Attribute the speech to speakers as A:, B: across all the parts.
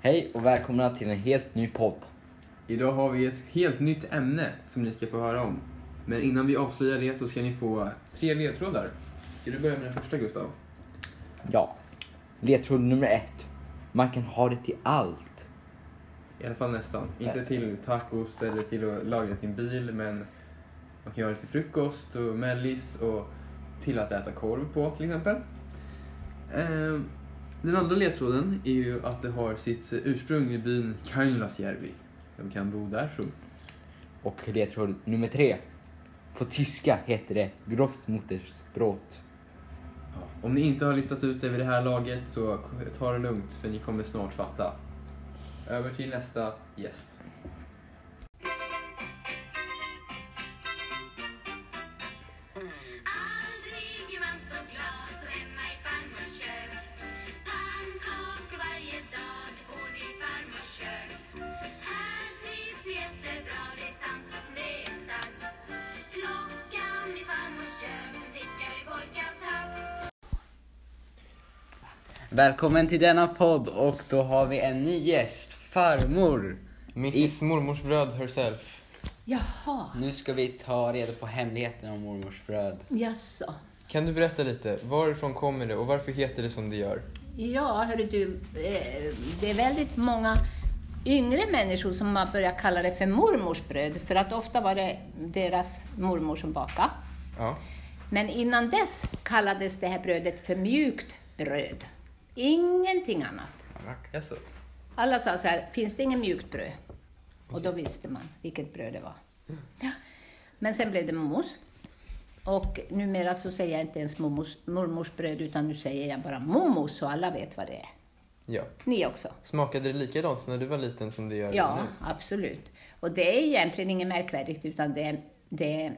A: Hej och välkomna till en helt ny podd.
B: Idag har vi ett helt nytt ämne som ni ska få höra om. Men innan vi avslöjar det så ska ni få tre ledtrådar. Ska du börja med den första Gustav?
A: Ja, ledtråd nummer ett. Man kan ha det till allt.
B: I alla fall nästan. Inte till tacos eller till att laga till en bil men man kan göra det till frukost och mellis och till att äta korv på till exempel. Ehm, Den andra ledtråden är ju att det har sitt ursprung i byn Kaunisjärvi. De kan bo där så.
A: Och ledtråd nummer tre. På tyska heter det Grossmuttersbrot.
B: Om ni inte har listat ut det vid det här laget så ta det lugnt för ni kommer snart fatta. Över till nästa gäst.
C: Aldrig är man så glad som hemma i farmors kök. Pannkakor varje dag, det får ni i farmors kök. Här trivs vi jättebra, det är sant som det är sant. Klockan i farmors kök, den tickar i polkatakt.
D: Välkommen till denna podd och då har vi en ny gäst, farmor.
B: Mrs mormors bröd herself.
E: Jaha,
D: Nu ska vi ta reda på hemligheten om mormors bröd.
E: jaså.
B: Kan du berätta lite? Varifrån kommer det och varför heter det som det gör?
E: Ja, hörru du, eh, det är väldigt många yngre människor som har börjat kalla det för mormors bröd, för att ofta var det deras mormor som bakade.
B: Ja.
E: Men innan dess kallades det här brödet för mjukt bröd. Ingenting annat.
B: Jaså?
E: Alla sa så här, finns det inget mjukt bröd? Och då visste man vilket bröd det var. Ja. Men sen blev det momos. Och numera så säger jag inte ens momos, mormors bröd, utan nu säger jag bara momos så alla vet vad det är.
B: Ja.
E: Ni också?
B: Smakade det likadant när du var liten som det gör
E: Ja,
B: nu?
E: absolut. Och det är egentligen inget märkvärdigt, utan det är, det är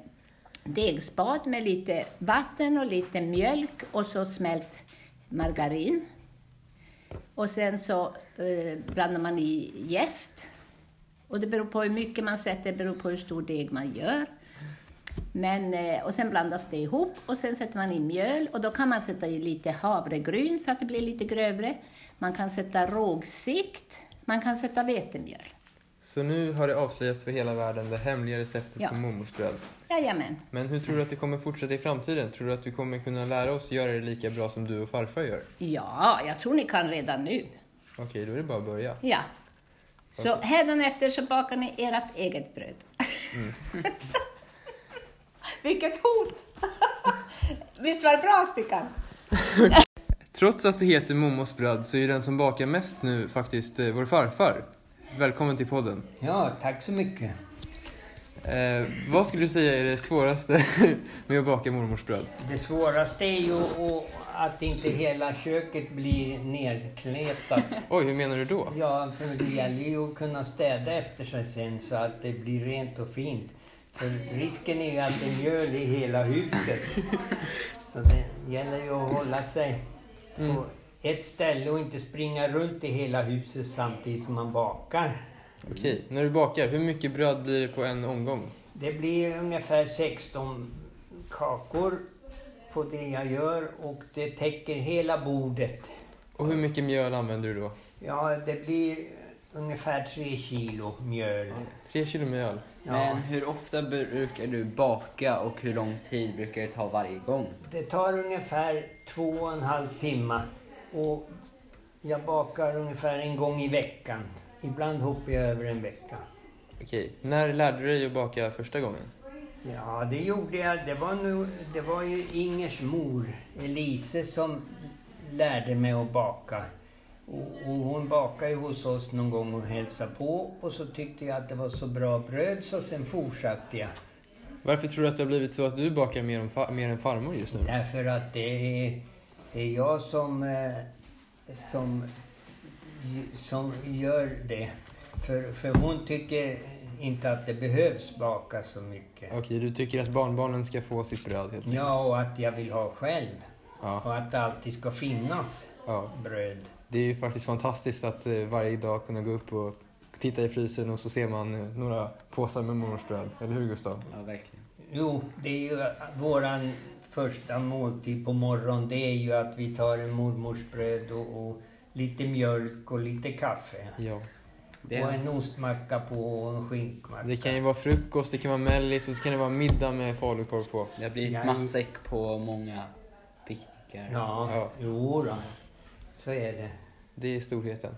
E: degspad med lite vatten och lite mjölk och så smält margarin. Och sen så eh, blandar man i jäst. Och det beror på hur mycket man sätter, det beror på hur stor deg man gör. Men, eh, och sen blandas det ihop och sen sätter man i mjöl och då kan man sätta i lite havregryn för att det blir lite grövre. Man kan sätta rågsikt, man kan sätta vetemjöl.
F: Så nu har det avslöjats för hela världen det hemliga receptet
E: Ja.
F: på momosbröd.
E: Jajamän.
F: Men hur tror du att det kommer fortsätta i framtiden? Tror du att vi kommer kunna lära oss göra det lika bra som du och farfar gör?
E: Ja, jag tror ni kan redan nu.
F: Okej, då är det bara att börja.
E: Ja. Så hädanefter så bakar ni ert eget bröd. Vilket hot! Visst var det bra, Stickan?
F: Trots att det heter momosbröd så är ju den som bakar mest nu faktiskt eh, vår farfar. Välkommen till podden.
D: Ja, tack så mycket.
F: Eh, vad skulle du säga är det svåraste med att baka mormors bröd?
G: Det svåraste är ju att- att inte hela köket blir nerkletat.
F: Oj, hur menar du då?
G: Ja, för det gäller ju att kunna städa efter sig sen så att det blir rent och fint. För risken är ju att det är mjöl i hela huset. Så det gäller ju att hålla sig
D: Mm.
G: på ett ställe och inte springa runt i hela huset samtidigt som man bakar.
F: Okej, när du bakar, hur mycket bröd blir det på en omgång?
G: Det blir ungefär 16 kakor på det jag gör och det täcker hela bordet.
F: Och hur mycket mjöl använder du då?
G: Ja, det blir ungefär tre kilo mjöl.
F: Tre kilo mjöl.
D: Men hur ofta brukar du baka och hur lång tid brukar det ta varje gång?
G: Det tar ungefär två och en halv timme. Och jag bakar ungefär en gång i veckan. Ibland hoppar jag över en vecka.
F: Okej, när lärde du dig att baka första gången?
G: Ja, det gjorde jag. Det var, nu, det var ju Ingers mor, Elise, som lärde mig att baka. Och, och hon bakade ju hos oss någon gång och hälsade på. Och så tyckte jag att det var så bra bröd så sen fortsatte jag.
F: Varför tror du att det har blivit så att du bakar mer än, fa- mer än farmor just nu?
G: Därför att det är, det är jag som, eh, som, som gör det. För, för hon tycker inte att det behövs baka så mycket.
F: Okej, du tycker att barnbarnen ska få sitt bröd helt enkelt?
G: Ja, och att jag vill ha själv.
F: ja.
G: Och att det alltid ska finnas
F: ja.
G: bröd.
F: Det är ju faktiskt fantastiskt att eh, varje dag kunna gå upp och titta i frysen och så ser man eh, några påsar med mormors bröd. Eller hur Gustav?
D: Ja, verkligen.
G: Jo, det är ju våran första måltid på morgonen. Det är ju att vi tar en mormors bröd och, och lite mjölk och lite kaffe.
F: Ja.
D: Det-
G: Och en ostmacka på och en skinkmacka.
F: Det kan ju vara frukost, det kan vara mellis och så kan det vara middag med falukorv på.
D: Det har blivit
G: Nej.
D: matsäck på många picknickar.
F: Ja.
G: Ja, ja. jo då. Så är det.
F: Det är storheten.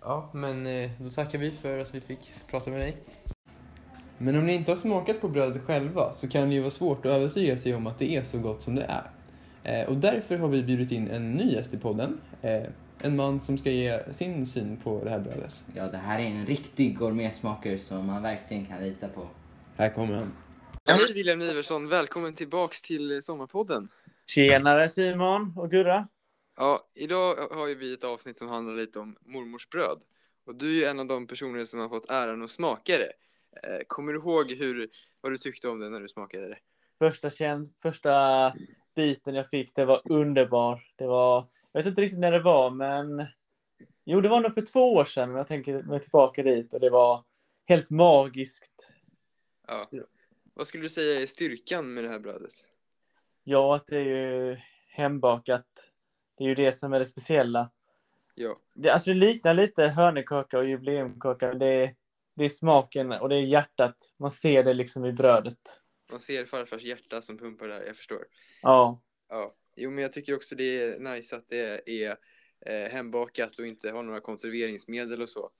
F: Ja, men eh, då tackar vi för att vi fick prata med dig. Men om ni inte har smakat på brödet själva så kan det ju vara svårt att övertyga sig om att det är så gott som det är. Eh, och därför har vi bjudit in en ny gäst i podden. Eh, en man som ska ge sin syn på det här brödet.
A: Ja, det här är en riktig gourmetsmakare som man verkligen kan lita på.
F: Här kommer han.
H: Hej William Iversson, välkommen tillbaks till eh, Sommarpodden.
I: Tjenare Simon och Gurra.
H: Ja, idag har ju vi ett avsnitt som handlar lite om mormors bröd. Och du är ju en av de personer som har fått äran att smaka det. Eh, Kommer du ihåg hur, vad du tyckte om det när du smakade det?
I: Första, känd, första biten jag fick, det var underbar. Det var, jag vet inte riktigt när det var, men jo, det var nog för två år sedan. Jag tänker mig tillbaka dit och det var helt magiskt.
H: Ja. Vad skulle du säga är styrkan med det här brödet?
I: Ja, att det är ju hembakat. Det är ju det som är det speciella.
H: Ja,
I: Det, alltså det liknar lite hörnekaka och jubileumkaka. men Det är, det är smaken och det är hjärtat. Man ser det liksom i brödet.
H: man ser farfars hjärta som pumpar där, jag förstår.
I: Ja.
H: Ja, jo men jag tycker också det är nice att det är eh, hembakat och inte har några konserveringsmedel och så.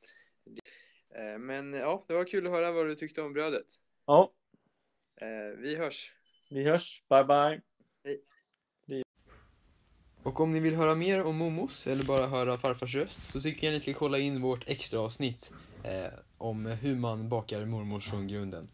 H: Eh, men ja, det var kul att höra vad du tyckte om brödet.
I: ja.
H: Eh, vi hörs.
I: Vi hörs. Bye, bye.
F: Och om ni vill höra mer om Momos eller bara höra farfars röst så tycker jag ni ska kolla in vårt extra avsnitt eh, om hur man bakar mormors från grunden.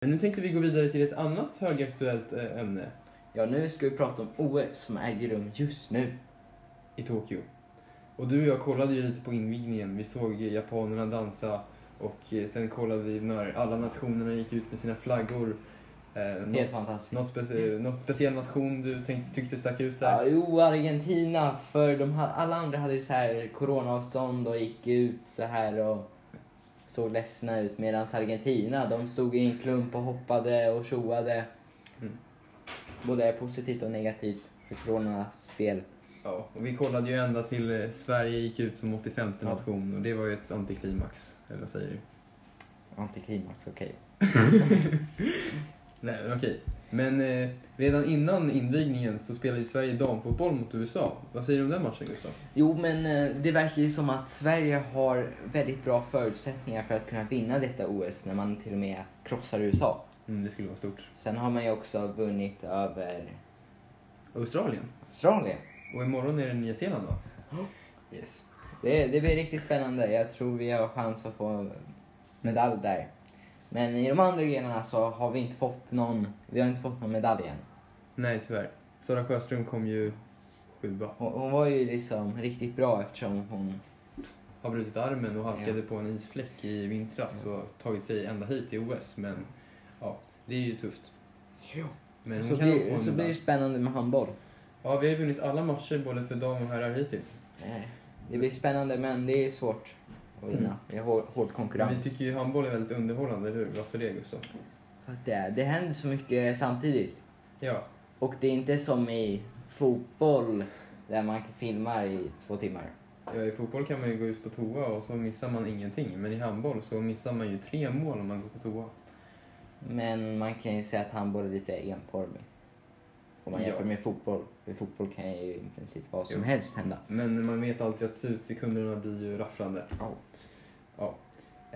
B: Men nu tänkte vi gå vidare till ett annat högaktuellt eh, ämne
A: Ja, nu ska vi prata om OS som äger rum just nu.
B: i Tokyo. Och du och jag kollade ju lite på invigningen. Vi såg japanerna dansa och eh, sen kollade vi när alla nationerna gick ut med sina flaggor. Eh,
A: Helt
B: något,
A: fantastiskt.
B: något, speci- något speciell nation du tänk- tyckte stack ut där?
A: Ja, jo, Argentina, för de ha, alla andra hade ju så här coronaavstånd och gick ut så här och såg ledsna ut. Medan Argentina, de stod i en klump och hoppade och tjoade.
B: Mm.
A: Både positivt och negativt för coronas del.
B: Ja, och vi kollade ju ända till eh, Sverige gick ut som 85
A: Ja.
B: nation och det var ju ett antiklimax, eller vad säger du?
A: Antiklimax, okej.
B: Nej, men okej. Men eh, redan innan invigningen så spelade ju Sverige damfotboll mot USA. Vad säger du om den matchen, Gustav?
A: Jo, men eh, det verkar ju som att Sverige har väldigt bra förutsättningar för att kunna vinna detta OS när man till och med krossar USA.
B: Mm, det skulle vara stort.
A: Sen har man ju också vunnit över
B: Australien.
A: Australien.
B: Och imorgon är det Nya Zeeland, va?
A: Yes. Det, det blir riktigt spännande. Jag tror vi har chans att få medalj där. Men i de andra grenarna så har vi inte fått någon, vi har inte fått någon medalj än.
B: Nej, tyvärr. Sara Sjöström kom ju sjua.
A: Hon, hon var ju liksom riktigt bra eftersom hon...
B: Har brutit armen och halkade på en isfläck i vintras och tagit sig ända hit till OS. Men ja, det är ju tufft. Men
A: Så
B: hon kan nog få
A: blir,
B: en
A: så blir det
B: medalj.
A: spännande med handboll.
B: Ja, vi har ju vunnit alla matcher både för dam och herrar hittills.
A: Eh, Det blir spännande men det är svårt att vinna. Det är hår, hård
B: Men vi
A: konkurrens.
B: tycker ju handboll är väldigt underhållande, eller hur? Varför det, Gustav?
A: För att det, det händer så mycket samtidigt.
B: Ja,
A: Och det är inte som i fotboll där man filmar i två timmar.
B: ja, i fotboll kan man ju gå ut på toa och så missar man ingenting. Men i handboll så missar man ju tre mål om man går på toa.
A: Men man kan ju säga att handboll är lite enformigt. Om man
B: Ja.
A: jämför med fotboll. För fotboll kan ju i princip vad som
B: Jo.
A: helst hända.
B: Men man vet alltid att slutsekunderna blir ju rafflande.
A: Ja.
B: Ja.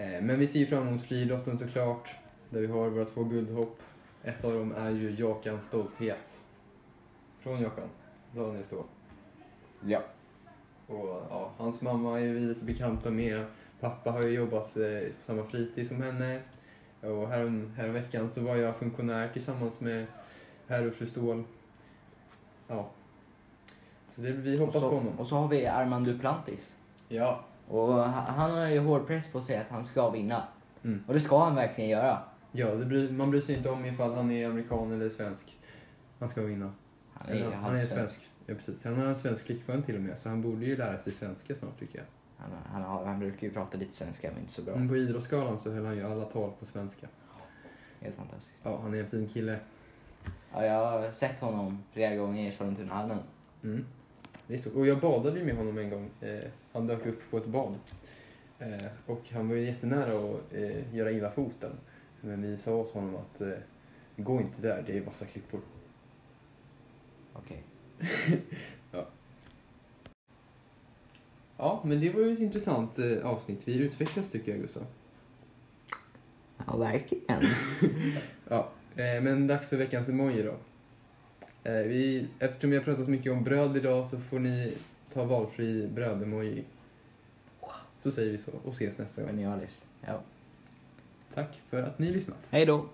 B: Eh, Men vi ser ju fram emot friidrotten såklart, där vi har våra två guldhopp. Ett av dem är ju Jakans stolthet. Från Jakan, Daniel Ståhl.
A: Ja.
B: Och ja, hans mamma är vi lite bekanta med. Pappa har ju jobbat eh, på samma fritid som henne. Och härom, häromveckan så var jag funktionär tillsammans med herr och fru Ståhl. Ja. Så det, vi
A: Och
B: hoppas på
A: så,
B: honom.
A: och så har vi Armand Duplantis.
B: Ja,
A: Och ha- han har ju hård press på sig att han ska vinna.
B: Mm.
A: Och det ska han verkligen göra.
B: Ja, det bryr, man bryr sig inte om ifall han är amerikan eller svensk. Han ska vinna.
A: Han alltså-
B: Eller, han är
A: halvsvensk.
B: svensk. Ja, precis. Han har en svensk flickvän till och med, så han borde ju lära sig svenska snart tycker jag.
A: Han, han, har- han brukar ju prata lite svenska men inte så bra.
B: Men på Idrottsgalan så höll han ju alla tal på svenska.
A: Helt fantastiskt.
B: Ja, han är en fin kille.
A: Ja, jag har sett honom flera gånger i Sollentunahallen.
B: Mm. Det är så. Och jag badade ju med honom en gång. Eh, han dök upp på ett bad. Eh, och han var ju jättenära att eh, göra illa foten. Men vi sa åt honom att eh, gå inte där, det är vassa klippor.
A: Okej.
B: Ja, men det var ju ett intressant eh, avsnitt. Vi utvecklas tycker jag, Gustav.
A: Ja, verkligen.
B: Ja, eh, men dags för veckans emoji då. Eh, vi, eftersom vi har pratat så mycket om bröd idag så får ni ta valfri brödemoji. Så säger vi så och ses nästa gång.
A: Genialiskt. Ja.
B: Tack för att ni har lyssnat.
A: Hej då!